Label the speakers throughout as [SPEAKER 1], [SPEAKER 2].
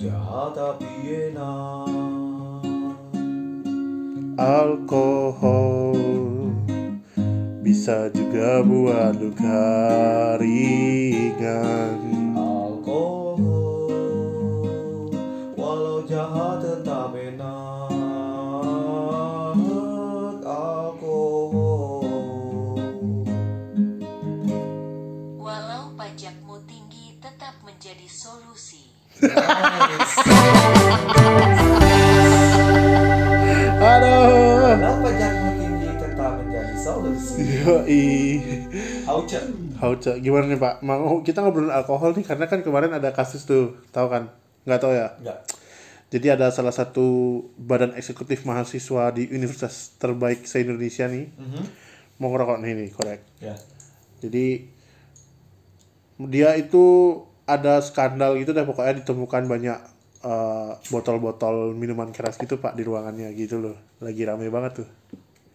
[SPEAKER 1] mata pienan
[SPEAKER 2] Alkohol bisa juga buat luka ringan.
[SPEAKER 1] Alkohol Walau jahat tetap enak Alkohol
[SPEAKER 3] Walau pajakmu tinggi tetap menjadi solusi.
[SPEAKER 1] Nice.
[SPEAKER 2] Aduh.
[SPEAKER 1] Kenapa jantung tinggi tetap menjadi solusi?
[SPEAKER 2] Yoi.
[SPEAKER 1] Aucer
[SPEAKER 2] Hauca, gimana nih Pak? Mau kita ngobrolin alkohol nih karena kan kemarin ada kasus tuh, tahu kan? Nggak tahu ya.
[SPEAKER 1] Enggak
[SPEAKER 2] Jadi ada salah satu badan eksekutif mahasiswa di universitas terbaik se-Indonesia nih
[SPEAKER 1] Mhm.
[SPEAKER 2] mau ngerokok nih, nih korek.
[SPEAKER 1] Ya
[SPEAKER 2] Jadi dia itu ada skandal gitu deh pokoknya ditemukan banyak eh, botol-botol minuman keras gitu Pak di ruangannya gitu loh. Lagi rame banget tuh.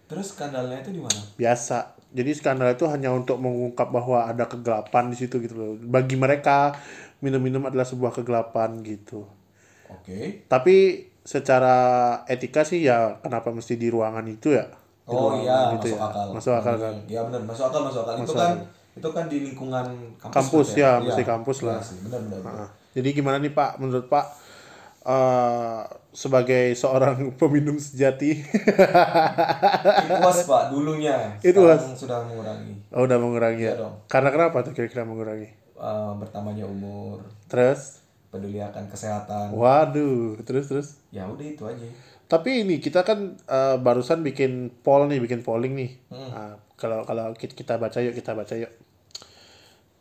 [SPEAKER 1] Terus skandalnya itu di mana?
[SPEAKER 2] biasa. Jadi skandal itu hanya untuk mengungkap bahwa ada kegelapan di situ gitu loh. Bagi mereka minum-minum adalah sebuah kegelapan gitu.
[SPEAKER 1] Oke
[SPEAKER 2] Tapi secara etika sih ya kenapa mesti di ruangan itu ya? Di
[SPEAKER 1] Oh
[SPEAKER 2] ruangan
[SPEAKER 1] iya, masuk
[SPEAKER 2] gitu ya.
[SPEAKER 1] akal.
[SPEAKER 2] Masuk akal kan.
[SPEAKER 1] Iya benar, masuk akal, masuk akal. itu
[SPEAKER 2] Masuk
[SPEAKER 1] kan itu kan di lingkungan kampus.
[SPEAKER 2] Kampus,
[SPEAKER 1] kan,
[SPEAKER 2] ya,
[SPEAKER 1] Iya.
[SPEAKER 2] mesti kampus
[SPEAKER 1] Iya
[SPEAKER 2] lah.
[SPEAKER 1] sih, benar benar. benar.
[SPEAKER 2] Nah, jadi gimana nih Pak menurut Pak eh, sebagai seorang peminum sejati
[SPEAKER 1] It was Pak dulunya.
[SPEAKER 2] It
[SPEAKER 1] Sekarang sudah mengurangi
[SPEAKER 2] oh, udah mengurangi
[SPEAKER 1] Iya
[SPEAKER 2] ya.
[SPEAKER 1] dong.
[SPEAKER 2] Karena kenapa tuh kira-kira mengurangi?
[SPEAKER 1] Eh, bertambahnya umur,
[SPEAKER 2] Terus
[SPEAKER 1] peduli akan kesehatan.
[SPEAKER 2] Oh. waduh, terus terus
[SPEAKER 1] Ya udah itu aja.
[SPEAKER 2] Tapi ini kita kan eh, barusan bikin poll nih, bikin polling nih.
[SPEAKER 1] Hmm.
[SPEAKER 2] Nah, kalau kalau kit- kita baca yuk, kita baca yuk.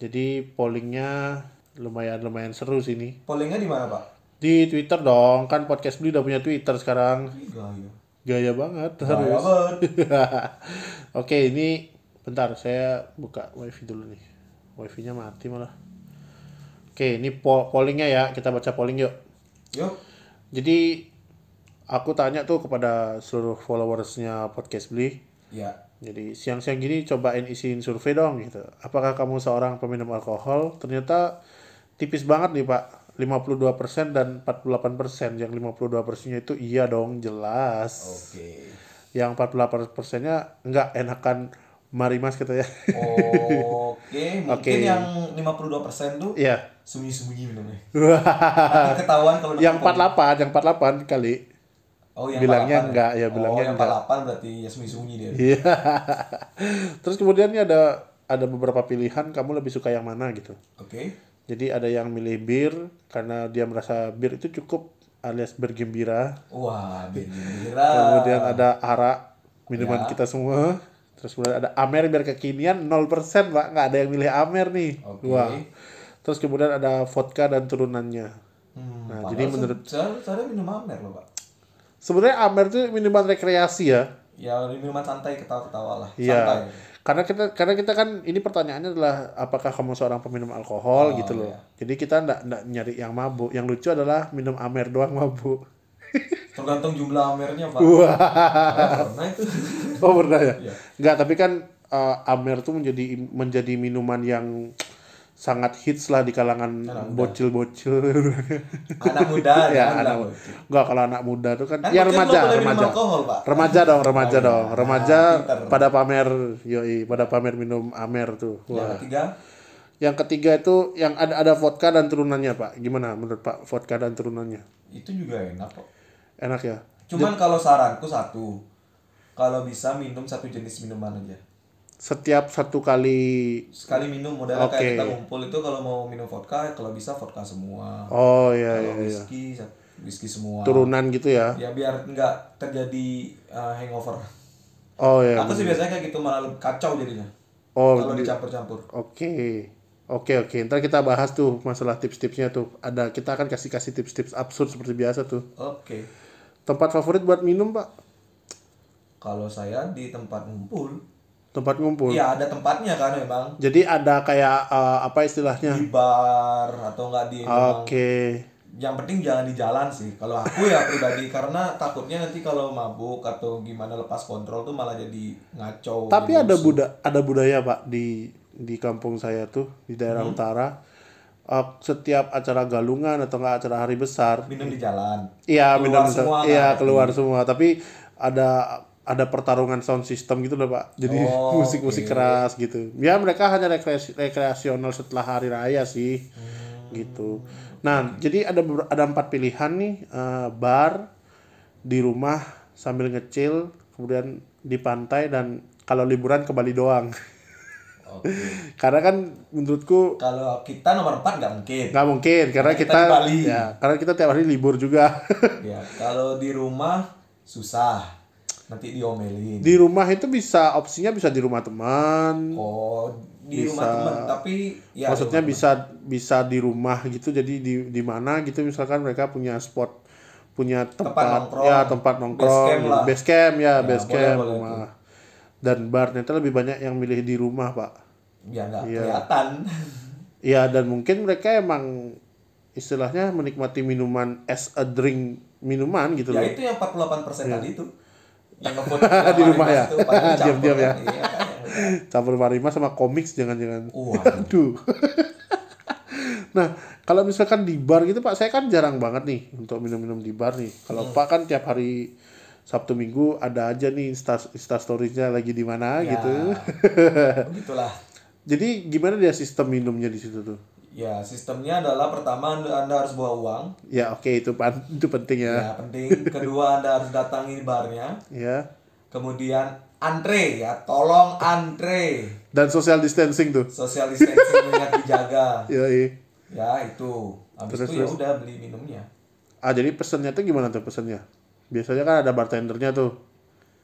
[SPEAKER 2] Jadi pollingnya lumayan lumayan seru sih ini.
[SPEAKER 1] Pollingnya di mana Pak?
[SPEAKER 2] Di Twitter dong, kan podcast Bli udah punya Twitter sekarang.
[SPEAKER 1] Ih, Gaya.
[SPEAKER 2] Gaya banget
[SPEAKER 1] Gaya
[SPEAKER 2] harus.
[SPEAKER 1] banget.
[SPEAKER 2] Oke, ini bentar saya buka wifi dulu nih. Wifi-nya mati malah. Oke, ini po- pollingnya ya, kita baca polling yuk.
[SPEAKER 1] Yuk.
[SPEAKER 2] Jadi aku tanya tuh kepada seluruh followersnya podcast Bli.
[SPEAKER 1] Ya.
[SPEAKER 2] Jadi siang-siang gini cobain isiin survei dong gitu. Apakah kamu seorang peminum alkohol? Ternyata tipis banget nih Pak. 52% dan 48%. Yang 52%-nya itu iya dong, jelas.
[SPEAKER 1] Oke.
[SPEAKER 2] Yang 48%-nya nggak enakan mari mas ya. katanya.
[SPEAKER 1] Oke, mungkin
[SPEAKER 2] Oke.
[SPEAKER 1] yang 52% tuh
[SPEAKER 2] Iya.
[SPEAKER 1] sembunyi-sembunyi minumnya. Nanti ketahuan kalau
[SPEAKER 2] yang
[SPEAKER 1] nanti
[SPEAKER 2] 48, yang 48 kali.
[SPEAKER 1] Oh, yang
[SPEAKER 2] Bilangnya
[SPEAKER 1] 48
[SPEAKER 2] enggak, ya,
[SPEAKER 1] Oh,
[SPEAKER 2] bilangnya
[SPEAKER 1] yang
[SPEAKER 2] enggak.
[SPEAKER 1] 48 berarti ya sembunyi-sembunyi dia.
[SPEAKER 2] Iya. Terus kemudian ini ada ada beberapa pilihan kamu lebih suka yang mana gitu.
[SPEAKER 1] Oke.
[SPEAKER 2] Jadi ada yang milih bir karena dia merasa bir itu cukup alias bergembira.
[SPEAKER 1] Wah, gembira.
[SPEAKER 2] Iya. Kemudian ada arak
[SPEAKER 1] Ya.
[SPEAKER 2] minuman kita semua. Terus kemudian ada Amer biar kekinian 0% Pak, nggak ada yang milih Amer nih.
[SPEAKER 1] Oke.
[SPEAKER 2] Wah. Terus kemudian ada vodka dan turunannya.
[SPEAKER 1] Hmm,
[SPEAKER 2] Nah,
[SPEAKER 1] padahal
[SPEAKER 2] jadi menurut-
[SPEAKER 1] se- seharusnya seharusnya minum amer loh, Pak.
[SPEAKER 2] Sebenarnya Amer itu minuman rekreasi ya.
[SPEAKER 1] Ya, minuman santai ketawa-ketawa lah. Santai.
[SPEAKER 2] Iya. Karena kita karena kita kan ini pertanyaannya adalah apakah kamu seorang peminum
[SPEAKER 1] Oh,
[SPEAKER 2] alkohol gitu loh.
[SPEAKER 1] iya.
[SPEAKER 2] Jadi kita ndak ndak nyari yang mabuk. Yang lucu adalah minum Amer doang mabuk.
[SPEAKER 1] Tergantung jumlah amernya, Pak. Nah, itu.
[SPEAKER 2] Oh pernah ya?
[SPEAKER 1] Iya.
[SPEAKER 2] Enggak, tapi kan eh, Amer tuh menjadi menjadi minuman yang sangat hits lah di kalangan
[SPEAKER 1] Anak muda.
[SPEAKER 2] bocil-bocil.
[SPEAKER 1] anak muda
[SPEAKER 2] ya,
[SPEAKER 1] jangan
[SPEAKER 2] anak
[SPEAKER 1] bilang
[SPEAKER 2] muda.
[SPEAKER 1] bocil.
[SPEAKER 2] Enggak, kalau anak muda tuh kan,
[SPEAKER 1] Kan
[SPEAKER 2] ya
[SPEAKER 1] bocil
[SPEAKER 2] remaja,
[SPEAKER 1] belum boleh minum
[SPEAKER 2] remaja.
[SPEAKER 1] alkohol, Pak.
[SPEAKER 2] Remaja dong, remaja
[SPEAKER 1] Oh, iya.
[SPEAKER 2] dong. Remaja
[SPEAKER 1] Nah, pinter.
[SPEAKER 2] pada pamer, yoi, pada pamer minum Amer tuh.
[SPEAKER 1] Yang
[SPEAKER 2] Wah.
[SPEAKER 1] ketiga,
[SPEAKER 2] Yang ketiga itu yang ada ada vodka dan turunannya, Pak. Gimana menurut Pak vodka dan turunannya?
[SPEAKER 1] itu juga enak kok.
[SPEAKER 2] Enak ya?
[SPEAKER 1] Cuman kalau saranku satu, kalau bisa minum satu jenis minuman aja.
[SPEAKER 2] Setiap satu kali
[SPEAKER 1] Sekali minum modal
[SPEAKER 2] Oke.
[SPEAKER 1] kayak kita ngumpul itu kalau mau minum vodka, kalau bisa vodka semua.
[SPEAKER 2] Oh iya
[SPEAKER 1] kalau
[SPEAKER 2] iya iya.
[SPEAKER 1] whisky, whisky semua.
[SPEAKER 2] Turunan gitu ya.
[SPEAKER 1] Ya biar nggak terjadi uh, hangover.
[SPEAKER 2] Oh iya.
[SPEAKER 1] Aku sih biasanya kayak gitu malah lebih kacau jadinya.
[SPEAKER 2] Oh,
[SPEAKER 1] kalau
[SPEAKER 2] di-
[SPEAKER 1] dicampur-campur.
[SPEAKER 2] Oke. Oke, oke. Ntar kita bahas tuh masalah tips-tipsnya tuh. Ada kita akan kasih-kasih tips-tips absurd seperti biasa tuh.
[SPEAKER 1] Oke.
[SPEAKER 2] Tempat favorit buat minum, Pak?
[SPEAKER 1] Kalau saya di tempat ngumpul,
[SPEAKER 2] Tempat ngumpul.
[SPEAKER 1] ya ada tempatnya kan memang
[SPEAKER 2] Jadi ada kayak eh, apa istilahnya?
[SPEAKER 1] di bar atau nggak di
[SPEAKER 2] Ah.
[SPEAKER 1] memang-
[SPEAKER 2] Oke.
[SPEAKER 1] yang penting jangan di jalan sih kalau aku ya pribadi karena takutnya nanti kalau mabuk atau gimana lepas kontrol tuh malah jadi ngaco
[SPEAKER 2] Tapi
[SPEAKER 1] jadi
[SPEAKER 2] ada
[SPEAKER 1] rusuh.
[SPEAKER 2] buda ada budaya, Pak, di di kampung saya tuh di daerah utara. eh, setiap acara galungan atau enggak acara hari besar
[SPEAKER 1] minum di jalan
[SPEAKER 2] Iya
[SPEAKER 1] Keluar
[SPEAKER 2] benar
[SPEAKER 1] semua,
[SPEAKER 2] benar. Iya
[SPEAKER 1] kan?
[SPEAKER 2] keluar semua. Tapi ada ada pertarungan sound system gitu loh pak. Jadi
[SPEAKER 1] Oh,
[SPEAKER 2] musik-musik
[SPEAKER 1] oke.
[SPEAKER 2] keras gitu. Ya mereka hanya rekreasi, rekreasional setelah hari raya sih.
[SPEAKER 1] Hmm.
[SPEAKER 2] Gitu. Nah jadi ada beber- ada empat pilihan nih Eh, bar di rumah sambil ngecil, kemudian di pantai dan kalau liburan ke Bali doang.
[SPEAKER 1] oke
[SPEAKER 2] Karena kan menurutku
[SPEAKER 1] kalau kita nomor 4 nggak mungkin
[SPEAKER 2] nggak mungkin karena
[SPEAKER 1] Nah, Kita
[SPEAKER 2] kita,
[SPEAKER 1] di Bali.
[SPEAKER 2] ya karena kita tiap hari libur juga.
[SPEAKER 1] ya kalau di rumah susah nanti diomelin
[SPEAKER 2] di rumah itu bisa opsinya bisa di rumah teman
[SPEAKER 1] oh di
[SPEAKER 2] Bisa.
[SPEAKER 1] rumah teman tapi ya di
[SPEAKER 2] maksudnya
[SPEAKER 1] rumah
[SPEAKER 2] bisa bisa di rumah gitu jadi di di mana gitu misalkan mereka punya spot punya tempat,
[SPEAKER 1] nongkrong.
[SPEAKER 2] ya tempat nongkrong
[SPEAKER 1] Base camp
[SPEAKER 2] gitu.
[SPEAKER 1] lah.
[SPEAKER 2] base camp ya, base
[SPEAKER 1] boleh,
[SPEAKER 2] camp
[SPEAKER 1] boleh
[SPEAKER 2] rumah dan bar ternyata lebih banyak yang milih di rumah pak
[SPEAKER 1] teman. biar nggak
[SPEAKER 2] Iya.
[SPEAKER 1] kelihatan
[SPEAKER 2] ya dan mungkin mereka emang istilahnya menikmati minuman as a drink minuman gitu
[SPEAKER 1] ya
[SPEAKER 2] loh
[SPEAKER 1] itu yang 48 persen tadi itu yang ngevote
[SPEAKER 2] Iya. Di rumah ya? Diam-diam ya?
[SPEAKER 1] ya
[SPEAKER 2] campur marima sama komiks jangan-jangan
[SPEAKER 1] Waduh.
[SPEAKER 2] Aduh. nah, kalau misalkan di bar gitu Pak, saya kan jarang banget nih untuk minum-minum di bar nih. Kalau Pak kan tiap hari Sabtu Minggu ada aja nih Insta, Insta Stories-nya lagi di mana
[SPEAKER 1] Ya.
[SPEAKER 2] gitu.
[SPEAKER 1] begitulah
[SPEAKER 2] Jadi gimana dia sistem minumnya di situ tuh?
[SPEAKER 1] ya sistemnya adalah pertama anda anda harus bawa uang
[SPEAKER 2] Ya oke itu pan itu penting ya.
[SPEAKER 1] ya penting kedua anda harus datangi barnya
[SPEAKER 2] Ya.
[SPEAKER 1] kemudian antre ya tolong antre
[SPEAKER 2] Dan social distancing tuh.
[SPEAKER 1] social distancing banyak dijaga
[SPEAKER 2] Ya.
[SPEAKER 1] ya itu habis
[SPEAKER 2] Terus,
[SPEAKER 1] itu ya
[SPEAKER 2] terus.
[SPEAKER 1] udah beli minumnya
[SPEAKER 2] Ah jadi pesennya tuh gimana tuh pesennya? Biasanya kan ada bartendernya tuh.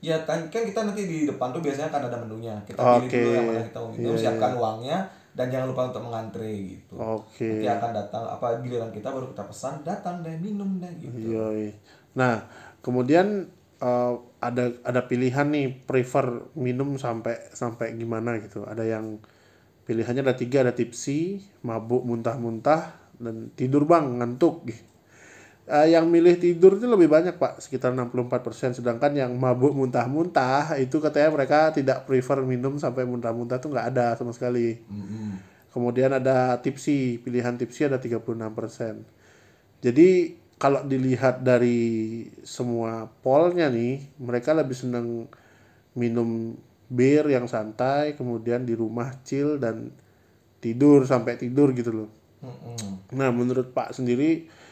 [SPEAKER 1] ya kan kan kita nanti di depan tuh biasanya kan ada menunya kita pilih
[SPEAKER 2] Oke. Iya,
[SPEAKER 1] dulu yang mana kita mau minum siapkan uangnya dan jangan lupa untuk mengantre gitu
[SPEAKER 2] Oke.
[SPEAKER 1] nanti akan datang apa giliran kita baru kita pesan datang deh minum deh gitu
[SPEAKER 2] Yoi. Iya, Nah, kemudian eh, ada ada pilihan nih prefer minum sampai sampai gimana gitu. Ada yang pilihannya ada tiga ada tipsi, mabuk muntah-muntah dan tidur bang ngantuk. gitu. Eh, yang milih tidur itu lebih banyak pak sekitar 64% sedangkan yang mabuk muntah-muntah itu katanya mereka tidak prefer minum sampai muntah-muntah tuh nggak ada sama sekali.
[SPEAKER 1] Mm-mm.
[SPEAKER 2] Kemudian ada tipsi, pilihan tipsi ada 36%. Jadi kalau dilihat dari semua polnya nih, mereka lebih seneng minum bir yang santai, kemudian di rumah chill dan tidur sampai tidur gitu loh.
[SPEAKER 1] Mm-mm.
[SPEAKER 2] Nah, menurut Pak sendiri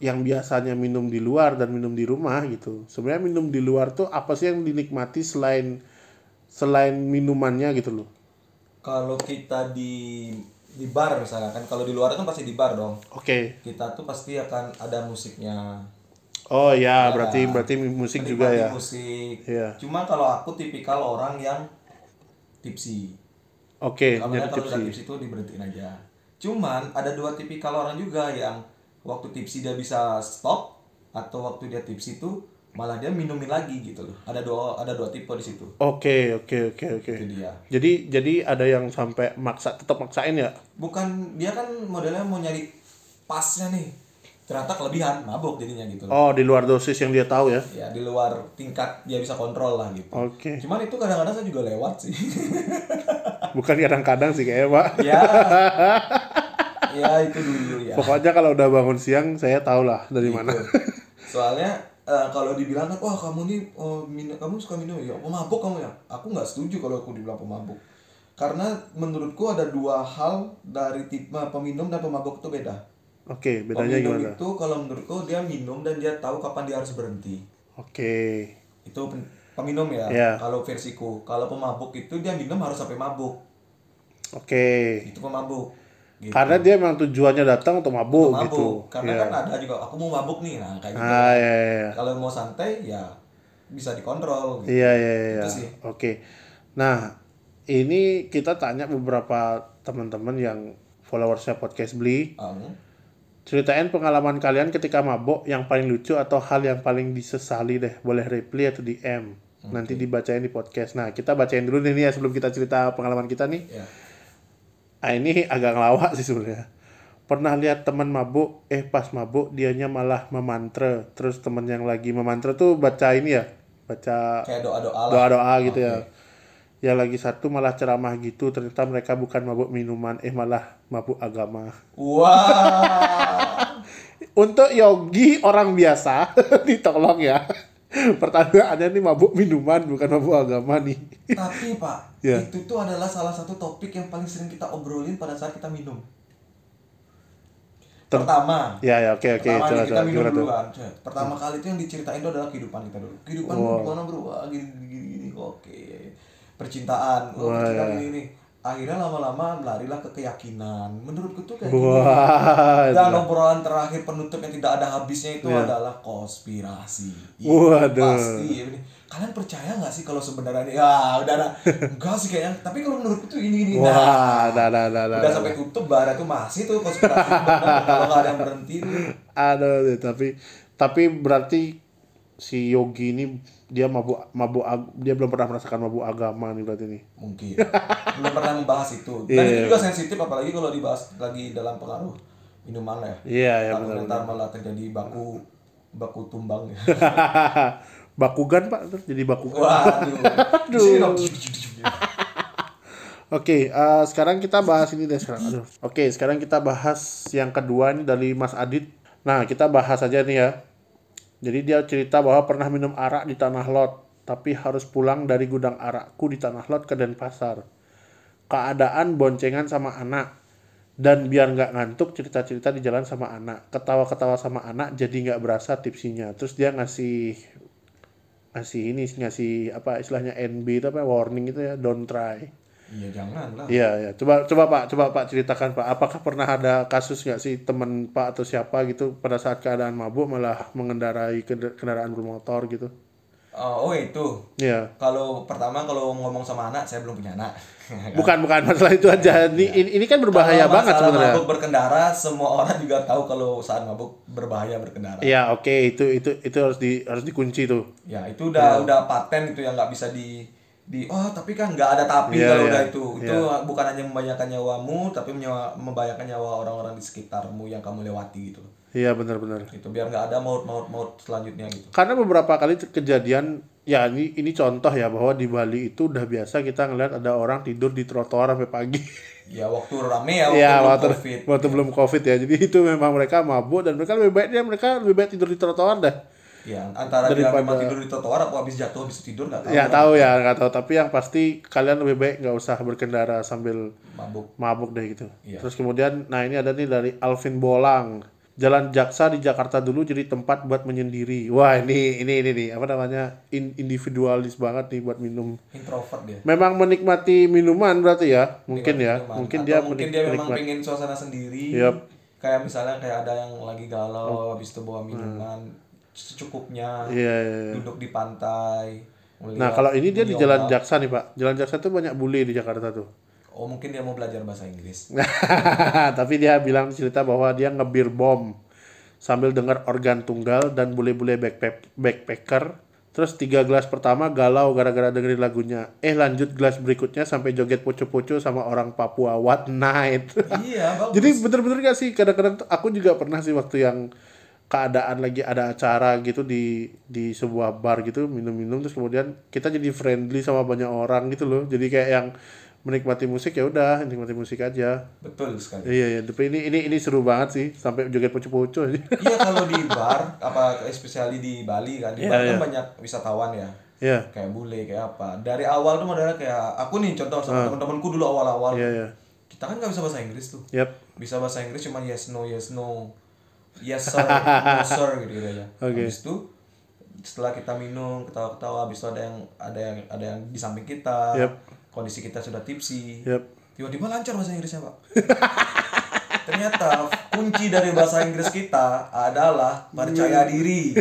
[SPEAKER 2] yang biasanya minum di luar dan minum di rumah gitu. Sebenarnya minum di luar tuh apa sih yang dinikmati selain selain minumannya gitu loh.
[SPEAKER 1] kalau kita di di bar misalnya kan kalau di luar kan pasti di bar dong
[SPEAKER 2] Oke.
[SPEAKER 1] kita tuh pasti akan ada musiknya
[SPEAKER 2] Oh ya, berarti berarti musik juga
[SPEAKER 1] Menikmati
[SPEAKER 2] ya.
[SPEAKER 1] musik
[SPEAKER 2] Iya.
[SPEAKER 1] cuma kalau aku tipikal orang yang tipsi
[SPEAKER 2] Oke,
[SPEAKER 1] Kalau
[SPEAKER 2] jadi
[SPEAKER 1] nggak, kalau
[SPEAKER 2] tips
[SPEAKER 1] udah tipsi itu diberhentiin aja. Cuman ada dua tipikal orang juga yang waktu tipsi dia bisa stop atau waktu dia tipsi itu malah dia minumin lagi gitu loh. Ada dua ada dua tipe di situ.
[SPEAKER 2] Oke, oke, oke, oke.
[SPEAKER 1] Itu dia.
[SPEAKER 2] Jadi jadi ada yang sampai maksa tetap maksain ya?
[SPEAKER 1] Bukan dia kan modelnya mau nyari pasnya nih. Ternyata kelebihan, mabok jadinya gitu loh.
[SPEAKER 2] Oh, di luar dosis yang dia tahu ya.
[SPEAKER 1] Ya di luar tingkat dia bisa kontrol lah gitu.
[SPEAKER 2] Oke.
[SPEAKER 1] Cuman itu kadang-kadang saya juga lewat sih.
[SPEAKER 2] Bukan kadang-kadang sih kayaknya, Pak.
[SPEAKER 1] ya. Ya itu dulu ya.
[SPEAKER 2] Pokoknya kalau udah bangun siang saya tahu lah dari mana.
[SPEAKER 1] Gitu. Soalnya eh, kalau dibilang kan, wah kamu nih oh, min- kamu suka minum ya, pemabuk kamu ya. Aku nggak setuju kalau aku dibilang pemabuk. Karena menurutku ada dua hal dari tipe peminum dan pemabuk itu beda.
[SPEAKER 2] Oke, bedanya
[SPEAKER 1] peminum
[SPEAKER 2] gimana?
[SPEAKER 1] itu kalau menurutku dia minum dan dia tahu kapan dia harus berhenti.
[SPEAKER 2] Oke.
[SPEAKER 1] Itu pen- peminum ya.
[SPEAKER 2] Iya.
[SPEAKER 1] Kalau versiku, kalau pemabuk itu dia minum harus sampai mabuk.
[SPEAKER 2] Oke.
[SPEAKER 1] Itu pemabuk. Gitu.
[SPEAKER 2] Karena dia memang tujuannya datang untuk mabuk,
[SPEAKER 1] mabuk.
[SPEAKER 2] gitu.
[SPEAKER 1] Karena
[SPEAKER 2] Ya.
[SPEAKER 1] kan ada juga aku mau mabuk nih, nah kayak gitu.
[SPEAKER 2] Ah, ya, ya, ya.
[SPEAKER 1] Kalau mau santai ya bisa dikontrol. Gitu.
[SPEAKER 2] Iya iya iya.
[SPEAKER 1] Itu sih.
[SPEAKER 2] Oke. Nah, ini kita tanya beberapa teman-teman yang followersnya podcast Bli.
[SPEAKER 1] Um,
[SPEAKER 2] Ceritain pengalaman kalian ketika mabok yang paling lucu atau hal yang paling disesali deh. Boleh reply atau DM. Nanti dibacain di podcast. Nah, kita bacain dulu nih, nih ya sebelum kita cerita pengalaman kita nih.
[SPEAKER 1] ya.
[SPEAKER 2] Ah, ini agak ngelawak sih sebenarnya. Pernah lihat teman mabuk, eh pas mabuk dianya malah memantra. Terus temen yang lagi memantra tuh baca ini ya, baca
[SPEAKER 1] Kayak doa-doa lah.
[SPEAKER 2] doa-doa gitu ya. yang lagi satu malah ceramah gitu ternyata mereka bukan mabuk minuman eh malah mabuk agama
[SPEAKER 1] Wah.
[SPEAKER 2] untuk yogi orang biasa ditolong ya pertanyaannya nih mabuk minuman bukan mabuk agama nih
[SPEAKER 1] Tapi Pak,
[SPEAKER 2] Ya.
[SPEAKER 1] itu tuh adalah salah satu topik yang paling sering kita obrolin pada saat kita minum.
[SPEAKER 2] Ter-
[SPEAKER 1] Pertama,
[SPEAKER 2] ya ya oke oke
[SPEAKER 1] pertama nih
[SPEAKER 2] jelas,
[SPEAKER 1] kita
[SPEAKER 2] jelas.
[SPEAKER 1] minum
[SPEAKER 2] Gimana
[SPEAKER 1] dulu
[SPEAKER 2] tuh?
[SPEAKER 1] kan. Cet. Pertama kali itu yang diceritain itu adalah kehidupan kita dulu. Kehidupan lu gimana bro? Wah, gini gini, gini gini. Oke. Percintaan. Oh, percintaan
[SPEAKER 2] ya.
[SPEAKER 1] ini ini. Akhirnya lama-lama melarilah ke keyakinan. Menurutku tuh kayak gini.
[SPEAKER 2] wah ya.
[SPEAKER 1] Dan obrolan terakhir penutup yang tidak ada habisnya itu adalah konspirasi. Iya,
[SPEAKER 2] Waduh.
[SPEAKER 1] Pasti. iya bener. Kalian percaya nggak sih kalau sebenarnya ini- ya udah nah, enggak sih kayaknya. Tapi kalau menurutku tuh ini ini. Nah,
[SPEAKER 2] wah dah dah dah dah
[SPEAKER 1] udah sampai tutup bara tuh masih tuh konspirasi. Bener, kalau nggak ada yang berhenti tuh.
[SPEAKER 2] Aduh, aduh, tapi tapi berarti si Yogi ini dia mabuk mabuk ag- dia belum pernah merasakan mabuk agama nih berarti nih.
[SPEAKER 1] mungkin belum pernah membahas itu dan
[SPEAKER 2] Iya.
[SPEAKER 1] itu juga sensitif apalagi kalau dibahas lagi dalam pengaruh minuman lah ya
[SPEAKER 2] Iya, ya
[SPEAKER 1] Takut
[SPEAKER 2] benar.
[SPEAKER 1] ntar malah terjadi baku baku tumbang ya
[SPEAKER 2] bakugan Pak, terus jadi bakugan.
[SPEAKER 1] waduh
[SPEAKER 2] Oke, eh, sekarang kita bahas ini deh sekarang. Aduh. Oke, sekarang kita bahas yang kedua nih dari Mas Adit. Nah, kita bahas aja nih ya. Jadi dia cerita bahwa pernah minum arak di Tanah Lot, tapi harus pulang dari gudang arakku di Tanah Lot ke Denpasar. Keadaan boncengan sama anak. Dan biar nggak ngantuk, cerita-cerita di jalan sama anak. Ketawa-ketawa sama anak, jadi nggak berasa tipsinya. Terus dia ngasih ngasih ini ngasih apa istilahnya NB itu apa warning itu ya don't try
[SPEAKER 1] iya jangan lah
[SPEAKER 2] Iya, iya. Coba coba Pak, coba Pak ceritakan Pak, apakah pernah ada kasus nggak sih teman Pak atau siapa gitu pada saat keadaan mabuk malah mengendarai kend- kendaraan bermotor gitu?
[SPEAKER 1] oh, oh, itu
[SPEAKER 2] Iya.
[SPEAKER 1] kalau pertama kalau ngomong sama anak saya belum punya anak
[SPEAKER 2] Bukan bukan masalah itu aja. Ini ini, ini kan berbahaya
[SPEAKER 1] Iya, Kalau
[SPEAKER 2] banget
[SPEAKER 1] masalah
[SPEAKER 2] sebenarnya.
[SPEAKER 1] mabuk berkendara semua orang juga tahu kalau saat mabuk berbahaya berkendara
[SPEAKER 2] Iya, oke, itu itu itu harus di harus dikunci tuh.
[SPEAKER 1] ya itu
[SPEAKER 2] Iya.
[SPEAKER 1] udah udah paten itu yang nggak bisa di di oh tapi kan nggak ada tapi
[SPEAKER 2] Iya,
[SPEAKER 1] kalau
[SPEAKER 2] iya.
[SPEAKER 1] udah itu itu bukan hanya membahayakan nyawamu tapi menyawa, membahayakan nyawa orang-orang di sekitarmu yang kamu lewati gitu loh.
[SPEAKER 2] Iya, benar-benar.
[SPEAKER 1] itu biar nggak ada maut maut maut selanjutnya gitu
[SPEAKER 2] Karena beberapa kali kejadian ya ini ini contoh ya bahwa di Bali itu udah biasa kita ngelihat ada orang tidur di trotoar sampai pagi.
[SPEAKER 1] ya waktu rame ya waktu,
[SPEAKER 2] Iya,
[SPEAKER 1] belum
[SPEAKER 2] waktu,
[SPEAKER 1] covid
[SPEAKER 2] waktu belum covid ya. Jadi itu memang mereka mabuk dan mereka lebih baiknya mereka lebih baik tidur di trotoar dah.
[SPEAKER 1] ya antara dia
[SPEAKER 2] Daripada-
[SPEAKER 1] memang tidur di trotoar atau habis jatuh habis tidur nggak tahu
[SPEAKER 2] Ya tahu ya, nggak tahu. Tapi yang pasti kalian lebih baik nggak usah berkendara sambil
[SPEAKER 1] mabuk
[SPEAKER 2] mabuk deh gitu.
[SPEAKER 1] Iya.
[SPEAKER 2] Terus kemudian, nah ini ada nih dari Alvin Bolang. Jalan Jaksa di Jakarta dulu jadi tempat buat menyendiri. Wah ini ini ini nih apa namanya in- individualis banget nih buat minum.
[SPEAKER 1] introvert dia
[SPEAKER 2] Memang menikmati minuman berarti ya mungkin ya
[SPEAKER 1] Cuman,
[SPEAKER 2] mungkin
[SPEAKER 1] atau
[SPEAKER 2] dia
[SPEAKER 1] mungkin
[SPEAKER 2] menik-
[SPEAKER 1] dia memang
[SPEAKER 2] menikmati.
[SPEAKER 1] pengen suasana sendiri
[SPEAKER 2] Yap. Oh.
[SPEAKER 1] kayak misalnya kayak ada yang lagi galau habis itu bawa minuman secukupnya
[SPEAKER 2] Iya, iya, iya.
[SPEAKER 1] duduk di pantai
[SPEAKER 2] Nah
[SPEAKER 1] melihat-
[SPEAKER 2] kalau ini dia
[SPEAKER 1] Iya,
[SPEAKER 2] di Jalan Jaksa nih pak. Jalan Jaksa tuh banyak bule di Jakarta tuh.
[SPEAKER 1] oh mungkin dia mau belajar bahasa Inggris
[SPEAKER 2] Tapi dia bilang cerita bahwa dia ngebir bom sambil dengar organ tunggal dan bule-bule backpack- backpacker. Terus tiga gelas pertama galau gara-gara dengerin lagunya. Eh lanjut gelas berikutnya sampai joget poco-poco sama orang Papua. What night?
[SPEAKER 1] iya bagus
[SPEAKER 2] Jadi bener-bener gak sih kadang-kadang tuh aku juga pernah sih waktu yang keadaan lagi ada acara gitu di di sebuah bar gitu minum-minum terus kemudian kita jadi friendly sama banyak orang gitu loh. Jadi kayak yang menikmati musik ya udah nikmati musik aja.
[SPEAKER 1] betul sekali
[SPEAKER 2] Iya iya, tapi ini ini ini seru banget sih sampai joget poco-poco aja.
[SPEAKER 1] iya kalau di bar apa especially di Bali kan di bar kan banyak wisatawan ya
[SPEAKER 2] Iya.
[SPEAKER 1] kayak bule kayak apa dari awal tuh modelnya kayak aku nih contoh sama teman-temanku dulu awal-awal
[SPEAKER 2] Ah. Iya iya.
[SPEAKER 1] kita kan nggak bisa bahasa Inggris tuh
[SPEAKER 2] Yap.
[SPEAKER 1] bisa bahasa Inggris cuma yes no yes no yes sir no sir gitu gitu aja habis itu setelah kita minum ketawa-ketawa habis itu ada yang ada yang ada yang di samping kita
[SPEAKER 2] Yep.
[SPEAKER 1] kondisi kita sudah tipsi
[SPEAKER 2] Yep.
[SPEAKER 1] tiba-tiba lancar bahasa Inggrisnya pak ternyata kunci dari bahasa Inggris kita adalah percaya
[SPEAKER 2] Iya.
[SPEAKER 1] diri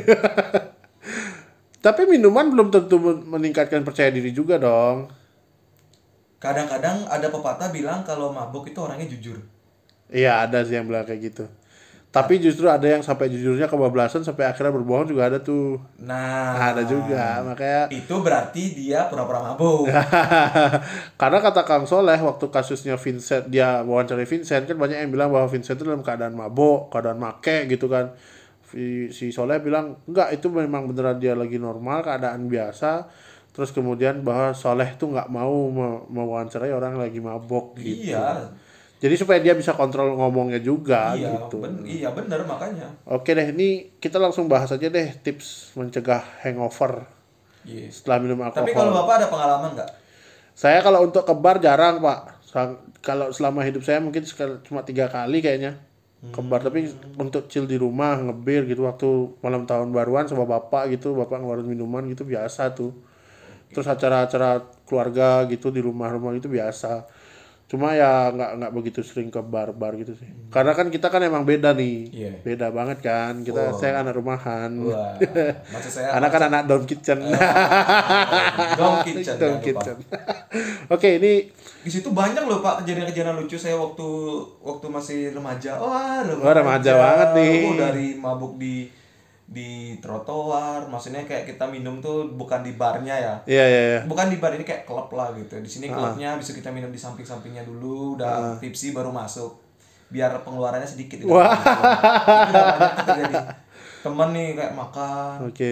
[SPEAKER 2] Tapi minuman belum tentu men- meningkatkan percaya diri juga dong.
[SPEAKER 1] kadang-kadang ada pepatah bilang kalau mabuk itu orangnya jujur
[SPEAKER 2] Iya, ada sih yang bilang kayak gitu. Tapi justru ada yang sampai jujurnya kebablasan sampai akhirnya berbohong juga ada tuh.
[SPEAKER 1] nah
[SPEAKER 2] Ada juga, Nah, makanya
[SPEAKER 1] itu berarti dia pura-pura mabuk
[SPEAKER 2] Karena kata Kang Soleh waktu kasusnya Vincent dia wawancarai Vincent kan banyak yang bilang bahwa Vincent itu dalam keadaan mabok, keadaan make gitu kan. Si, si Soleh bilang enggak itu memang beneran dia lagi normal keadaan biasa. Terus kemudian bahwa Soleh tuh nggak mau me- mewawancarai orang yang lagi mabok gitu.
[SPEAKER 1] Iya,
[SPEAKER 2] Jadi supaya dia bisa kontrol ngomongnya juga
[SPEAKER 1] iya,
[SPEAKER 2] gitu.
[SPEAKER 1] ben- iya bener makanya.
[SPEAKER 2] Oke deh, ini kita langsung bahas aja deh tips mencegah hangover
[SPEAKER 1] Yes.
[SPEAKER 2] setelah minum
[SPEAKER 1] Tapi
[SPEAKER 2] alkohol.
[SPEAKER 1] kalau bapak ada pengalaman nggak?
[SPEAKER 2] Saya kalau untuk ke bar jarang pak. Sa- Kalau selama hidup saya mungkin sekal- cuma tiga kali kayaknya ke bar. Tapi untuk chill di rumah ngebir gitu waktu malam tahun baruan sama bapak gitu, bapak ngeluarin minuman gitu biasa tuh. Terus acara-acara keluarga gitu di rumah-rumah gitu biasa. Cuma ya nggak nggak begitu sering ke bar-bar gitu sih. Karena kan kita kan emang beda nih,
[SPEAKER 1] Hmm. Iya.
[SPEAKER 2] beda banget kan. Kita saya kan anak rumahan,
[SPEAKER 1] Wah, maksud saya
[SPEAKER 2] anak kan anak dorm kitchen,
[SPEAKER 1] Dong kitchen. jangan
[SPEAKER 2] dorm
[SPEAKER 1] lupa.
[SPEAKER 2] kitchen. Oke ini
[SPEAKER 1] Di situ banyak loh Pak kejadian-kejadian lucu saya waktu waktu masih remaja. Wah, remaja,
[SPEAKER 2] Wah, remaja banget nih.
[SPEAKER 1] Oh, dari mabuk di di trotoar, maksudnya kayak kita minum tuh bukan di barnya ya.
[SPEAKER 2] Iya iya iya.
[SPEAKER 1] Bukan di bar ini kayak klub lah gitu. Di
[SPEAKER 2] Ah.
[SPEAKER 1] sini klubnya bisa kita minum di samping-sampingnya dulu, udah tipsi baru masuk. Biar pengeluarannya sedikit. gitu. Wah. Temen nih kayak makan,
[SPEAKER 2] Oke.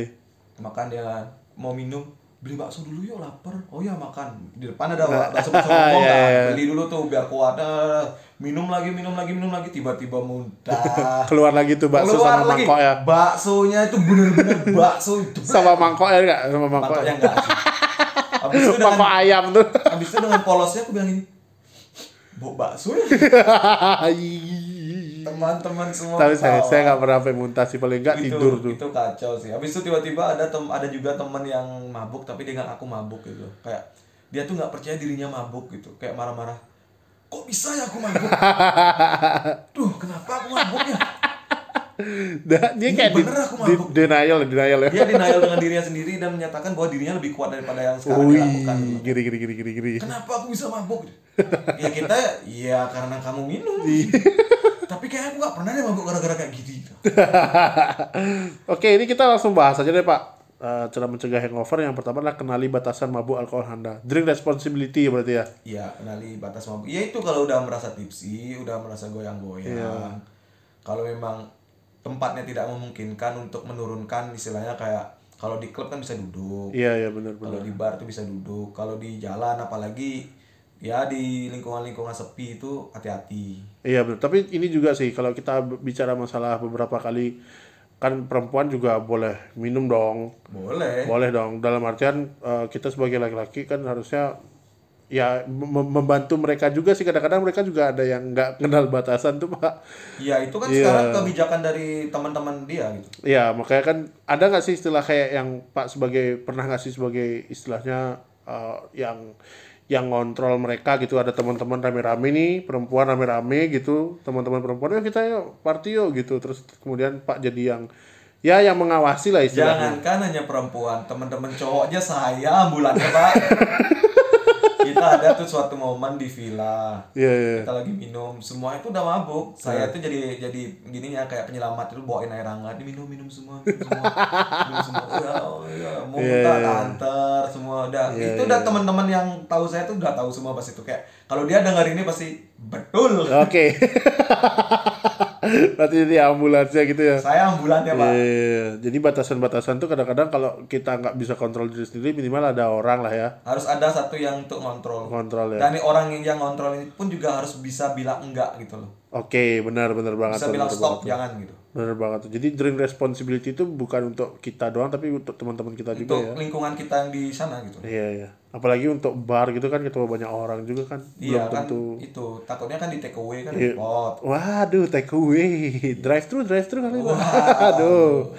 [SPEAKER 1] makan dia kan. mau minum beli bakso dulu yuk lapar oh ya makan di depan ada bakso bakso ngomong
[SPEAKER 2] Iya,
[SPEAKER 1] kan
[SPEAKER 2] iya.
[SPEAKER 1] beli dulu tuh biar kuat Ah, minum lagi minum lagi minum lagi tiba-tiba muntah
[SPEAKER 2] Keluar lagi tuh bakso
[SPEAKER 1] keluar
[SPEAKER 2] sama
[SPEAKER 1] lagi
[SPEAKER 2] mangkok ya.
[SPEAKER 1] baksonya itu bener-bener bakso itu
[SPEAKER 2] Sama mangkok ya enggak? Sama mangkok.
[SPEAKER 1] mantapnya enggak sih. habis itu dengan
[SPEAKER 2] Mangkok ayam tuh.
[SPEAKER 1] habis itu dengan polosnya aku bilang ini bau bakso ya teman-teman semua
[SPEAKER 2] Tapi saya
[SPEAKER 1] ketawa.
[SPEAKER 2] saya nggak pernah sampai muntah sih paling nggak
[SPEAKER 1] itu,
[SPEAKER 2] tidur tuh.
[SPEAKER 1] itu kacau sih habis itu tiba-tiba ada tem ada juga teman yang mabuk tapi dengan aku mabuk gitu kayak dia tuh nggak percaya dirinya mabuk gitu kayak marah-marah kok bisa ya aku mabuk duh kenapa aku mabuknya
[SPEAKER 2] Dah,
[SPEAKER 1] Ini
[SPEAKER 2] dia kayak di,
[SPEAKER 1] bener aku Iya,
[SPEAKER 2] di
[SPEAKER 1] mabuk.
[SPEAKER 2] denial, denial ya.
[SPEAKER 1] dia denial dengan dirinya sendiri dan menyatakan bahwa dirinya lebih kuat daripada yang sekarang
[SPEAKER 2] Wih,
[SPEAKER 1] dia lakukan
[SPEAKER 2] giri giri giri giri giri.
[SPEAKER 1] kenapa aku bisa mabuk ya kita ya karena kamu minum
[SPEAKER 2] Iya.
[SPEAKER 1] tapi kayak aku gak pernah deh mabuk gara-gara kayak gitu
[SPEAKER 2] Oke, ini kita langsung bahas aja deh, Pak. Eh, cara mencegah hangover yang pertama adalah kenali batasan mabuk alkohol Anda. Drink responsibility berarti ya.
[SPEAKER 1] Iya, kenali batas mabuk. Ya itu kalau udah merasa tipsi, udah merasa goyang-goyang.
[SPEAKER 2] Iya.
[SPEAKER 1] Kalau memang tempatnya tidak memungkinkan untuk menurunkan istilahnya kayak kalau di klub kan bisa duduk,
[SPEAKER 2] Iya, iya benar benar.
[SPEAKER 1] kalau di bar tuh bisa duduk, kalau di jalan apalagi ya di lingkungan-lingkungan sepi itu hati-hati.
[SPEAKER 2] Iya benar. Tapi ini juga sih kalau kita b- bicara masalah beberapa kali kan perempuan juga boleh minum dong.
[SPEAKER 1] Boleh.
[SPEAKER 2] Boleh dong. Dalam artian eh, kita sebagai laki-laki kan harusnya ya mem- membantu mereka juga sih kadang-kadang mereka juga ada yang nggak kenal batasan tuh pak.
[SPEAKER 1] Ya itu kan
[SPEAKER 2] Iya.
[SPEAKER 1] sekarang kebijakan dari teman-teman dia gitu.
[SPEAKER 2] Iya makanya kan ada nggak sih istilah kayak yang pak sebagai pernah nggak sih sebagai istilahnya eh, yang yang ngontrol mereka gitu ada teman-teman rame-rame nih perempuan rame-rame gitu teman-teman perempuan ya kita yuk party yuk gitu terus kemudian pak jadi yang ya yang mengawasi lah istilahnya
[SPEAKER 1] Jangankan hanya perempuan, teman-teman cowoknya saya ambulannya, Pak. Kita ada tuh suatu momen di villa.
[SPEAKER 2] Iya iya
[SPEAKER 1] kita lagi minum semua itu udah mabuk saya tuh jadi jadi gini ya kayak penyelamat itu bawain air hangat "Ini minum minum semua minum semua minum semua udah oh, iya. mau minta antar semua udah itu udah teman-teman yang tahu saya tuh udah tahu semua pas itu kayak kalau dia dengar ini pasti betul
[SPEAKER 2] oke berarti jadi ambulansnya gitu ya
[SPEAKER 1] saya ambulannya pak
[SPEAKER 2] Iya, jadi batasan-batasan tuh kadang-kadang kalau kita nggak bisa kontrol diri sendiri minimal ada orang lah ya
[SPEAKER 1] harus ada satu yang untuk ngontrol
[SPEAKER 2] kontrol ya
[SPEAKER 1] dan ini orang yang yang ngontrol ini pun juga harus bisa bilang enggak gitu loh
[SPEAKER 2] oke benar-benar banget
[SPEAKER 1] bisa
[SPEAKER 2] tuh,
[SPEAKER 1] bilang
[SPEAKER 2] benar
[SPEAKER 1] stop jangan gitu
[SPEAKER 2] Bener banget. tuh. Jadi dream responsibility itu bukan untuk kita doang tapi untuk teman-teman kita juga
[SPEAKER 1] untuk
[SPEAKER 2] ya.
[SPEAKER 1] lingkungan kita yang di sana gitu
[SPEAKER 2] Iya iya. Apalagi untuk bar gitu kan ketemu banyak orang juga kan.
[SPEAKER 1] iya kan itu takutnya kan di take away kan repot
[SPEAKER 2] Waduh, take away. Drive thru, drive thru kali. Waduh.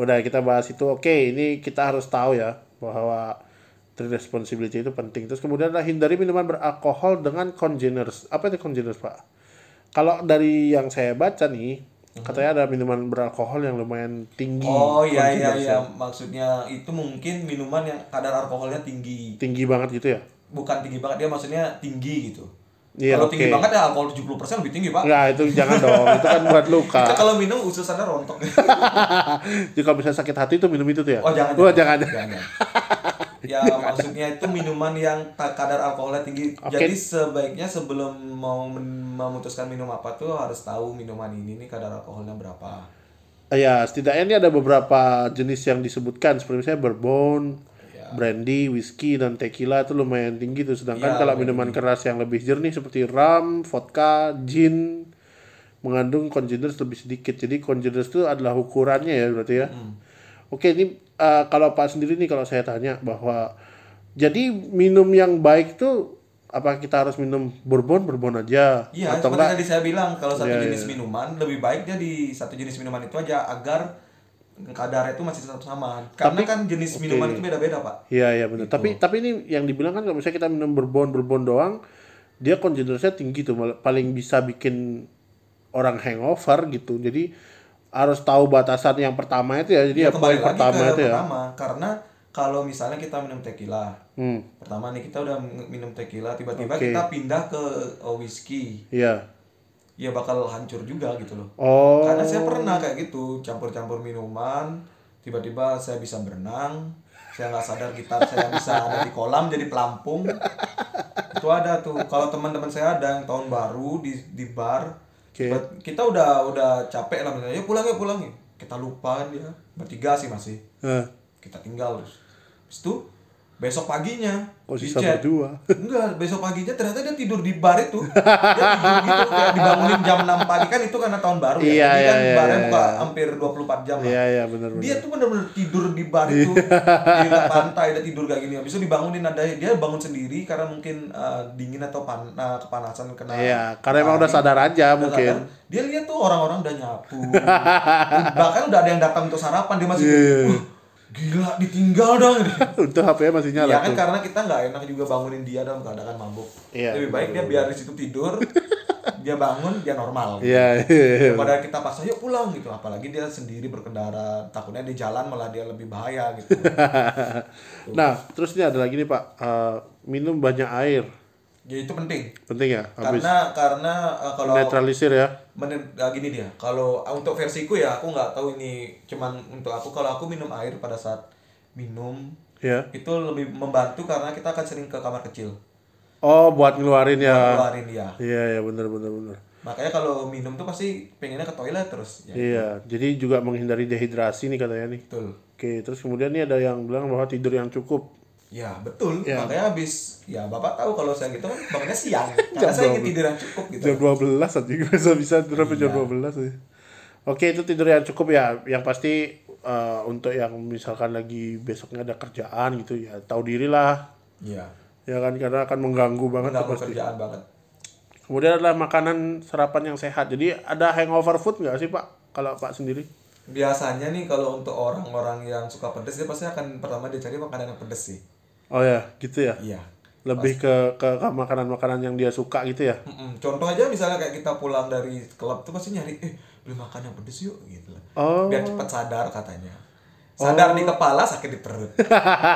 [SPEAKER 2] Udah kita bahas itu. Oke, ini kita harus tahu ya bahwa dream responsibility itu penting. Terus kemudian adalah hindari minuman beralkohol dengan congeners. Apa itu congeners, Pak? Kalau dari yang saya baca nih, katanya ada minuman beralkohol yang lumayan tinggi.
[SPEAKER 1] Mhm. Oh iya iya
[SPEAKER 2] congeners ya?
[SPEAKER 1] iya maksudnya itu mungkin minuman yang kadar alkoholnya tinggi.
[SPEAKER 2] tinggi banget gitu ya?
[SPEAKER 1] Bukan tinggi banget dia maksudnya tinggi gitu.
[SPEAKER 2] Iya,
[SPEAKER 1] kalau
[SPEAKER 2] oke.
[SPEAKER 1] tinggi banget ya alkohol 70% lebih tinggi, Pak.
[SPEAKER 2] Enggak, itu jangan dong. Itu kan buat luka.
[SPEAKER 1] Kita kalau minum usus Anda rontok.
[SPEAKER 2] Jadi kalau bisa sakit hati itu minum itu tuh ya?
[SPEAKER 1] Oh, jangan.
[SPEAKER 2] Wah, jangan. jangan.
[SPEAKER 1] Jangan. ya maksudnya itu minuman yang ta- kadar alkoholnya tinggi.
[SPEAKER 2] Oke.
[SPEAKER 1] Jadi sebaiknya sebelum mau men- memutuskan minum apa tuh harus tahu minuman ini nih kadar alkoholnya berapa.
[SPEAKER 2] Iya, Ya, setidaknya ini ada beberapa jenis yang disebutkan. Seperti misalnya bourbon,
[SPEAKER 1] Ya,
[SPEAKER 2] brandy, whisky dan tequila itu lumayan tinggi tuh. Sedangkan
[SPEAKER 1] Iya,
[SPEAKER 2] kalau
[SPEAKER 1] lumayan
[SPEAKER 2] minuman keras yang lebih jernih seperti rum, vodka, gin mengandung congeners lebih sedikit. Jadi congeners itu adalah ukurannya ya berarti ya.
[SPEAKER 1] Hmm.
[SPEAKER 2] Oke, ini eh, kalau Pak sendiri nih kalau saya tanya bahwa jadi minum yang baik tuh apa kita harus minum bourbon bourbon aja
[SPEAKER 1] Iya, seperti
[SPEAKER 2] atau enggak
[SPEAKER 1] tadi saya bilang kalau satu
[SPEAKER 2] Iya,
[SPEAKER 1] jenis minuman lebih baik dia di satu jenis minuman itu aja agar kadarnya itu masih tetap sama. Karena kan jenis minuman itu beda-beda, Pak.
[SPEAKER 2] Iya iya benar.
[SPEAKER 1] Gitu.
[SPEAKER 2] Tapi tapi ini yang dibilang kan kalau misalnya kita minum berbon berbon doang, dia konsentrasinya tinggi tuh, mal- paling bisa bikin orang hangover gitu. Jadi harus tahu batasan yang pertama itu ya. Jadi ya,
[SPEAKER 1] Iya, Kembali
[SPEAKER 2] poin
[SPEAKER 1] lagi
[SPEAKER 2] pertama
[SPEAKER 1] ke
[SPEAKER 2] itu ya.
[SPEAKER 1] pertama, karena kalau misalnya kita minum tequila,
[SPEAKER 2] Hmm,
[SPEAKER 1] pertama nih kita udah minum tequila, tiba-tiba
[SPEAKER 2] Oke.
[SPEAKER 1] kita pindah ke uh, whisky,
[SPEAKER 2] iya.
[SPEAKER 1] ya bakal hancur juga gitu loh.
[SPEAKER 2] Oh,
[SPEAKER 1] Karena saya pernah kayak gitu, campur-campur minuman, tiba-tiba saya bisa berenang, saya nggak sadar gitar saya bisa ada di kolam jadi pelampung. Itu ada tuh. Kalau teman-teman saya ada yang tahun baru di di bar,
[SPEAKER 2] Oke.
[SPEAKER 1] tiba- kita udah udah capek lah, misalnya, yuk pulang yuk pulang yuk. Kita lupa kan dia, bertiga sih masih.
[SPEAKER 2] eh,
[SPEAKER 1] Kita tinggal terus. Habis itu besok paginya
[SPEAKER 2] kok
[SPEAKER 1] di
[SPEAKER 2] Oh, sisa
[SPEAKER 1] chat.
[SPEAKER 2] berdua.
[SPEAKER 1] Enggak, besok paginya ternyata dia tidur di bar itu. Dia tidur gitu kayak dibangunin jam 6 pagi kan itu karena tahun baru ya.
[SPEAKER 2] Iya,
[SPEAKER 1] Jadi
[SPEAKER 2] iya,
[SPEAKER 1] kan
[SPEAKER 2] iya,
[SPEAKER 1] barnya
[SPEAKER 2] iya,
[SPEAKER 1] buka
[SPEAKER 2] iya.
[SPEAKER 1] hampir 24 jam lah.
[SPEAKER 2] Iya iya benar benar.
[SPEAKER 1] Dia tuh bener-bener tidur di bar itu. di dekat pantai dia tidur kayak gini. Habis itu dibangunin ada dia bangun sendiri karena mungkin eh, dingin atau pan- eh, kepanasan kena.
[SPEAKER 2] Iya, karena emang udah
[SPEAKER 1] matahari.
[SPEAKER 2] sadar aja
[SPEAKER 1] Udah
[SPEAKER 2] mungkin.
[SPEAKER 1] sadar. Dia lihat tuh orang-orang udah nyapu. Bahkan udah ada yang datang untuk sarapan dia masih
[SPEAKER 2] Iya.
[SPEAKER 1] "Wah, gila ditinggal dong.
[SPEAKER 2] Untuk HP-nya masih nyala
[SPEAKER 1] Iya kan
[SPEAKER 2] tuh.
[SPEAKER 1] karena kita nggak enak juga bangunin dia dalam keadaan mabuk.
[SPEAKER 2] Iya,
[SPEAKER 1] Lebih baik dia biar di situ tidur, dia bangun dia normal.
[SPEAKER 2] Iya iya. iya.
[SPEAKER 1] Daripada kita paksa yuk pulang gitu, apalagi dia sendiri berkendara, takutnya di jalan malah dia lebih bahaya gitu.
[SPEAKER 2] Nah, terus ini ada lagi nih Pak, Eh, minum banyak air.
[SPEAKER 1] Jadi Ya, itu penting.
[SPEAKER 2] Penting ya, habis
[SPEAKER 1] Karena karena eh, kalau
[SPEAKER 2] netralisir ya.
[SPEAKER 1] menurut ah, gini dia, kalau ah, untuk versiku ya aku nggak tahu ini cuman untuk aku kalau aku minum air pada saat minum
[SPEAKER 2] Ya.
[SPEAKER 1] itu lebih membantu karena kita akan sering ke kamar kecil
[SPEAKER 2] Oh, buat ngeluarin ya.
[SPEAKER 1] keluarin dia.
[SPEAKER 2] Iya, iya benar benar benar.
[SPEAKER 1] Makanya kalau minum tuh pasti pengennya ke toilet terus. Ya,
[SPEAKER 2] Iya, jadi juga menghindari dehidrasi nih katanya nih.
[SPEAKER 1] betul.
[SPEAKER 2] Oke, terus kemudian nih ada yang bilang bahwa tidur yang cukup.
[SPEAKER 1] Ya, betul. Makanya habis ya Bapak tahu kalau saya gitu kan bangunnya siang. Karena saya ingin tidur yang cukup gitu.
[SPEAKER 2] Jam 12 aja bisa bisa tidur sampai jam 12 aja. Oke, itu tidur yang cukup ya. Yang pasti eh, untuk yang misalkan lagi besoknya ada kerjaan gitu ya, tahu dirilah.
[SPEAKER 1] Iya.
[SPEAKER 2] Ya kan karena akan mengganggu banget tuh
[SPEAKER 1] Mengganggu
[SPEAKER 2] pasti.
[SPEAKER 1] kerjaan banget.
[SPEAKER 2] Kemudian adalah makanan sarapan yang sehat. Jadi ada hangover food nggak sih, Pak? Kalau Pak sendiri?
[SPEAKER 1] Biasanya nih kalau untuk orang-orang yang suka pedes dia pasti akan pertama dia cari makanan yang pedes sih.
[SPEAKER 2] Oh ya, gitu ya.
[SPEAKER 1] Iya.
[SPEAKER 2] lebih ke ke ke makanan-makanan yang dia suka gitu ya.
[SPEAKER 1] Mm-mm. Contoh aja misalnya kayak kita pulang dari klub tuh pasti nyari eh beli makan yang pedes yuk gitu lah.
[SPEAKER 2] Oh.
[SPEAKER 1] Biar cepat sadar katanya. Sadar di kepala sakit di perut.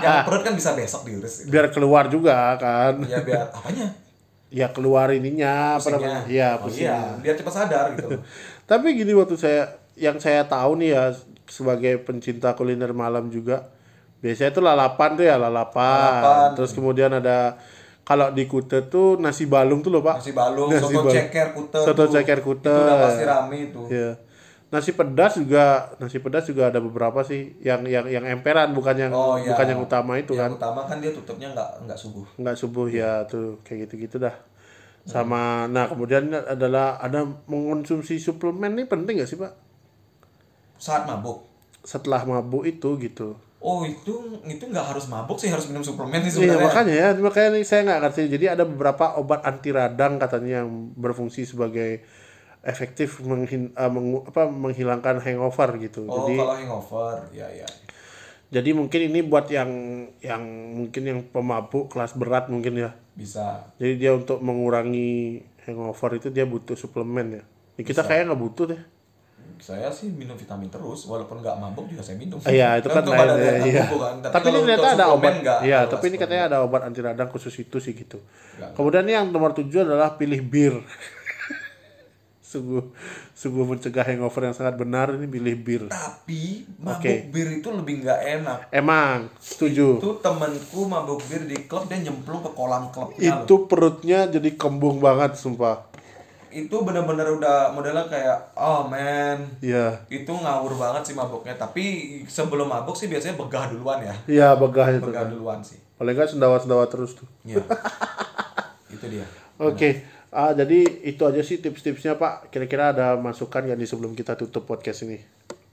[SPEAKER 1] yang perut kan bisa besok diurus.
[SPEAKER 2] Biar keluar juga kan.
[SPEAKER 1] Ya biar apanya?
[SPEAKER 2] Ya keluar ininya apa namanya?
[SPEAKER 1] pusingnya.
[SPEAKER 2] Iya,
[SPEAKER 1] Oh,
[SPEAKER 2] pusing.
[SPEAKER 1] iya, biar cepat sadar gitu. loh.
[SPEAKER 2] Tapi gini waktu saya yang saya tahu nih ya sebagai pencinta kuliner malam juga biasanya itu lalapan tuh ya lalapan.
[SPEAKER 1] Lalapan.
[SPEAKER 2] Terus kemudian ada kalau di Kute tuh nasi balung tuh loh, Pak.
[SPEAKER 1] Nasi balung,
[SPEAKER 2] Nasi
[SPEAKER 1] soto
[SPEAKER 2] balung.
[SPEAKER 1] ceker kute.
[SPEAKER 2] Soto
[SPEAKER 1] tuh.
[SPEAKER 2] ceker kute.
[SPEAKER 1] Itu udah pasti rame itu.
[SPEAKER 2] Iya. Nasi pedas juga, nasi pedas juga ada beberapa sih yang yang yang emperan bukan yang
[SPEAKER 1] Oh iya.
[SPEAKER 2] bukan yang utama itu kan.
[SPEAKER 1] Yang utama kan dia tutupnya nggak nggak subuh.
[SPEAKER 2] nggak subuh ya tuh kayak gitu-gitu dah sama nah kemudian adalah ada mengonsumsi suplemen ini penting nggak sih pak
[SPEAKER 1] Saat mabuk.
[SPEAKER 2] setelah mabuk itu gitu
[SPEAKER 1] Oh itu itu nggak harus mabuk sih harus minum suplemen sih
[SPEAKER 2] iya
[SPEAKER 1] sebenarnya.
[SPEAKER 2] makanya ya makanya nih saya nggak ngerti jadi ada beberapa obat anti radang katanya yang berfungsi sebagai efektif menghin, eh, mengu- apa, menghilangkan hangover gitu
[SPEAKER 1] Oh
[SPEAKER 2] jadi
[SPEAKER 1] kalau hangover, ya ya.
[SPEAKER 2] jadi mungkin ini buat yang yang mungkin yang pemabuk kelas berat mungkin ya
[SPEAKER 1] Bisa.
[SPEAKER 2] Jadi dia untuk mengurangi hangover itu dia butuh suplemen ya. Ya, kita kayaknya nggak butuh deh.
[SPEAKER 1] Saya sih minum vitamin terus, walaupun nggak mabuk juga saya minum.
[SPEAKER 2] Ah, Iya, itu kan
[SPEAKER 1] Untuk
[SPEAKER 2] lain.
[SPEAKER 1] badan
[SPEAKER 2] ya,
[SPEAKER 1] nggak
[SPEAKER 2] iya.
[SPEAKER 1] mabuk, kan.
[SPEAKER 2] Tapi,
[SPEAKER 1] kalau
[SPEAKER 2] ini
[SPEAKER 1] untuk
[SPEAKER 2] ternyata ada
[SPEAKER 1] suplemen
[SPEAKER 2] obat.
[SPEAKER 1] nggak,
[SPEAKER 2] Iya,
[SPEAKER 1] kalau
[SPEAKER 2] tapi ini
[SPEAKER 1] suplemen.
[SPEAKER 2] katanya ada obat anti radang khusus itu sih gitu.
[SPEAKER 1] Nggak.
[SPEAKER 2] Kemudian ini yang nomor tujuh adalah pilih bir. sungguh sungguh mencegah hangover yang sangat benar ini pilih bir.
[SPEAKER 1] Tapi mabuk
[SPEAKER 2] Oke.
[SPEAKER 1] bir itu lebih nggak enak.
[SPEAKER 2] Emang setuju.
[SPEAKER 1] Itu temanku mabuk bir di klub dia nyemplung ke kolam klubnya.
[SPEAKER 2] Itu perutnya jadi kembung banget sumpah.
[SPEAKER 1] loh. itu bener-bener udah modelnya kayak oh man
[SPEAKER 2] Iya.
[SPEAKER 1] itu ngawur banget sih maboknya tapi sebelum mabok sih biasanya begah duluan ya
[SPEAKER 2] Iya, begah itu.
[SPEAKER 1] begah duluan sih
[SPEAKER 2] Paling nggak sendawa-sendawa terus tuh.
[SPEAKER 1] ya itu dia Iya.
[SPEAKER 2] Oke. Ah, jadi itu aja sih tips-tipsnya, Pak. Kira-kira ada masukan nggak nih sebelum kita tutup podcast ini?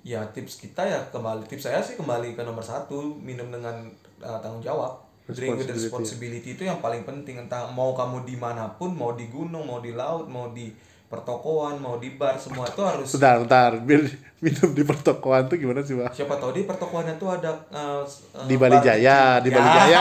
[SPEAKER 1] ya tips kita ya kembali tips saya sih kembali ke nomor satu minum dengan uh, tanggung jawab drink with responsibility itu yang paling penting entah mau kamu dimanapun mau di gunung mau di laut mau di pertokoan mau di bar semua itu harus
[SPEAKER 2] Bentar, bentar. Bir- Minum di pertokoan tuh gimana sih, Pak?
[SPEAKER 1] siapa tahu di pertokoan itu ada uh, s- uh,
[SPEAKER 2] Di Bali
[SPEAKER 1] bar
[SPEAKER 2] Jaya, di
[SPEAKER 1] Ya.
[SPEAKER 2] Bali Jaya.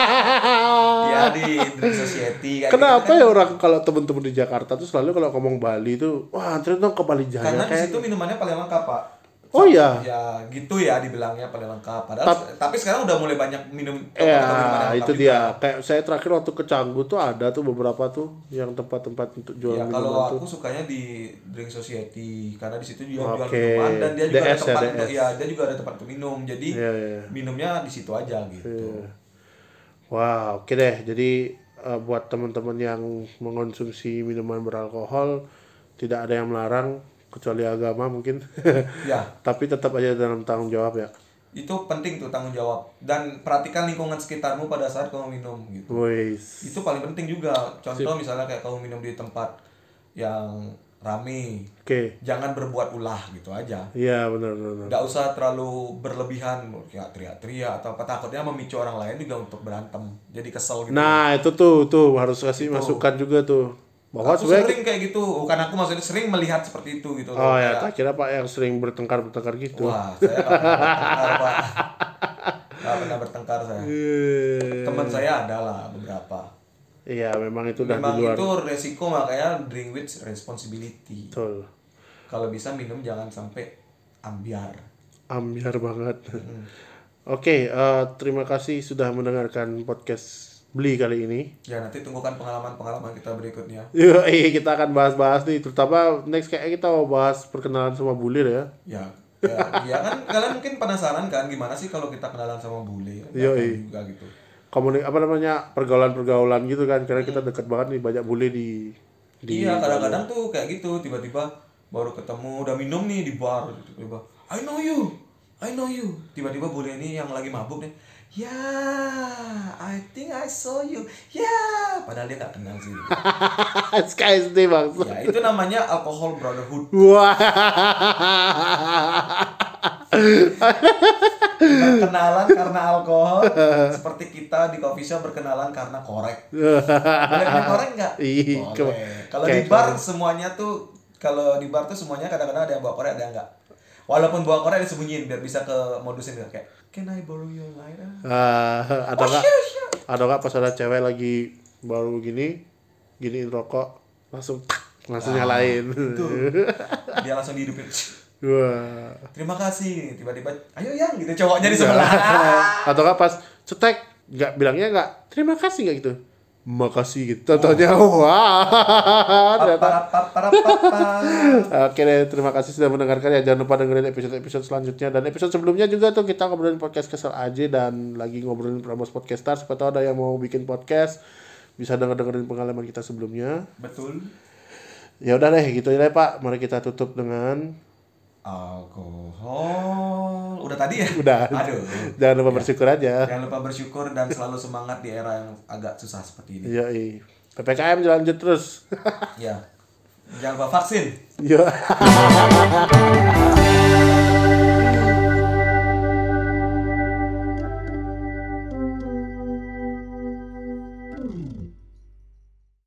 [SPEAKER 1] ya di drink society kayak
[SPEAKER 2] Kenapa ya orang kalau temen-temen di Jakarta tuh selalu kalau ngomong Bali tuh, wah anterin dong ke Bali
[SPEAKER 1] gitu.
[SPEAKER 2] Jaya
[SPEAKER 1] karena di
[SPEAKER 2] kayak-
[SPEAKER 1] situ minumannya paling lengkap pak
[SPEAKER 2] Oh iya.
[SPEAKER 1] ya gitu ya dibilangnya paling lengkap padahal tapi sekarang udah mulai banyak minum toko-toko minuman yang
[SPEAKER 2] Ya, itu
[SPEAKER 1] lengkap juga.
[SPEAKER 2] dia. Kayak saya terakhir waktu ke Canggu tuh ada tuh beberapa tuh yang tempat-tempat untuk jual
[SPEAKER 1] Ya
[SPEAKER 2] minuman
[SPEAKER 1] kalau
[SPEAKER 2] tuh.
[SPEAKER 1] aku sukanya di drink society karena di situ juga jual
[SPEAKER 2] Oke.
[SPEAKER 1] minuman dan dia juga ada
[SPEAKER 2] DS ya,
[SPEAKER 1] tempat untuk
[SPEAKER 2] DS.
[SPEAKER 1] ya dia juga ada tempat untuk minum jadi
[SPEAKER 2] Iya, iya.
[SPEAKER 1] minumnya di situ aja gitu.
[SPEAKER 2] Wah, oke deh. Jadi eh, buat teman-teman yang mengonsumsi minuman beralkohol tidak ada yang melarang kecuali agama mungkin.
[SPEAKER 1] Ya
[SPEAKER 2] Tapi tetap aja dalam tanggung jawab ya.
[SPEAKER 1] itu penting tuh tanggung jawab dan perhatikan lingkungan sekitarmu pada saat kamu minum gitu.
[SPEAKER 2] Wis.
[SPEAKER 1] Itu paling penting juga. Contoh misalnya kayak kamu minum di tempat yang rame,
[SPEAKER 2] Oke.
[SPEAKER 1] jangan berbuat ulah gitu aja.
[SPEAKER 2] Iya, benar benar. benar.
[SPEAKER 1] Nggak usah terlalu berlebihan kayak teriak-teriak atau apa takutnya memicu orang lain juga untuk berantem. Jadi kesel gitu.
[SPEAKER 2] Nah, itu tuh tuh harus kasih masukan juga tuh. Bahwa
[SPEAKER 1] aku
[SPEAKER 2] sebenarnya
[SPEAKER 1] sering kayak gitu bukan aku maksudnya sering melihat seperti itu gitu
[SPEAKER 2] Oh
[SPEAKER 1] loh. Kayak,
[SPEAKER 2] ya, tak kira Pak yang sering bertengkar-bertengkar gitu.
[SPEAKER 1] wah saya nggak pernah bertengkar pak nggak pernah bertengkar saya
[SPEAKER 2] Eh,
[SPEAKER 1] teman saya ada lah beberapa
[SPEAKER 2] Iya, memang itu udah di
[SPEAKER 1] memang
[SPEAKER 2] luar.
[SPEAKER 1] itu resiko makanya drink with responsibility
[SPEAKER 2] Betul.
[SPEAKER 1] kalau bisa minum jangan sampai ambiar
[SPEAKER 2] Ambiar banget. Oke, eh, terima kasih sudah mendengarkan podcast Beli kali ini.
[SPEAKER 1] ya nanti tunggukan pengalaman-pengalaman kita berikutnya
[SPEAKER 2] Yuk, eh, kita akan bahas-bahas nih, terutama next kayak kita mau bahas perkenalan sama bulir ya.
[SPEAKER 1] ya ya, ya kan kalian mungkin penasaran kan gimana sih kalau kita kenalan sama bule ya Nggak
[SPEAKER 2] Yoi.
[SPEAKER 1] tahu juga gitu
[SPEAKER 2] Komunik apa namanya? pergaulan-pergaulan gitu kan karena kita dekat banget nih banyak bule di di
[SPEAKER 1] Iya kadang-kadang tuh kayak gitu tiba-tiba baru ketemu udah minum nih di bar tiba-tiba I know you I know you tiba-tiba bule ini yang lagi mabuk nih ya I think I saw you ya padahal dia nggak kenal sih
[SPEAKER 2] SKSD maksud.
[SPEAKER 1] ya itu namanya alcohol brotherhood
[SPEAKER 2] Wah.
[SPEAKER 1] berkenalan karena alkohol seperti kita di coffee shop berkenalan karena korek boleh minum korek nggak
[SPEAKER 2] Ih,
[SPEAKER 1] Boleh. kalau di bar semuanya tuh kalau di bar tuh semuanya kadang-kadang ada yang bawa korek ada yang enggak walaupun bawa korek disembunyiin biar bisa ke modusin gitu. kayak can I borrow your lighter
[SPEAKER 2] Ah,
[SPEAKER 1] Oh,
[SPEAKER 2] atau enggak atau enggak pas ada cewek lagi baru gini giniin rokok langsung tak,
[SPEAKER 1] Ah,
[SPEAKER 2] langsung nyalain
[SPEAKER 1] dia langsung dihidupin "Shh,
[SPEAKER 2] wah
[SPEAKER 1] terima kasih tiba-tiba ayo yang gitu cowoknya
[SPEAKER 2] Iya.
[SPEAKER 1] di sebelah
[SPEAKER 2] atau enggak pas cetek nggak bilangnya nggak terima kasih nggak gitu makasih gitu contohnya wah ternyata
[SPEAKER 1] Papapapapapapa.
[SPEAKER 2] Oke deh, terima kasih sudah mendengarkan ya. Jangan lupa dengerin episode-episode selanjutnya dan episode sebelumnya juga tuh kita ngobrolin podcast kesel aja dan lagi ngobrolin promos podcaster. Siapa tahu ada yang mau bikin podcast bisa denger dengerin pengalaman kita sebelumnya.
[SPEAKER 1] betul
[SPEAKER 2] Ya udah deh, gitu aja deh Pak. Mari kita tutup dengan
[SPEAKER 1] alkohol udah tadi ya
[SPEAKER 2] Udah.
[SPEAKER 1] aduh
[SPEAKER 2] jangan lupa bersyukur aja.
[SPEAKER 1] jangan lupa bersyukur dan selalu semangat di era yang agak susah seperti ini
[SPEAKER 2] Iya, PPKM lanjut terus.
[SPEAKER 1] ya jangan lupa vaksin
[SPEAKER 2] Yo.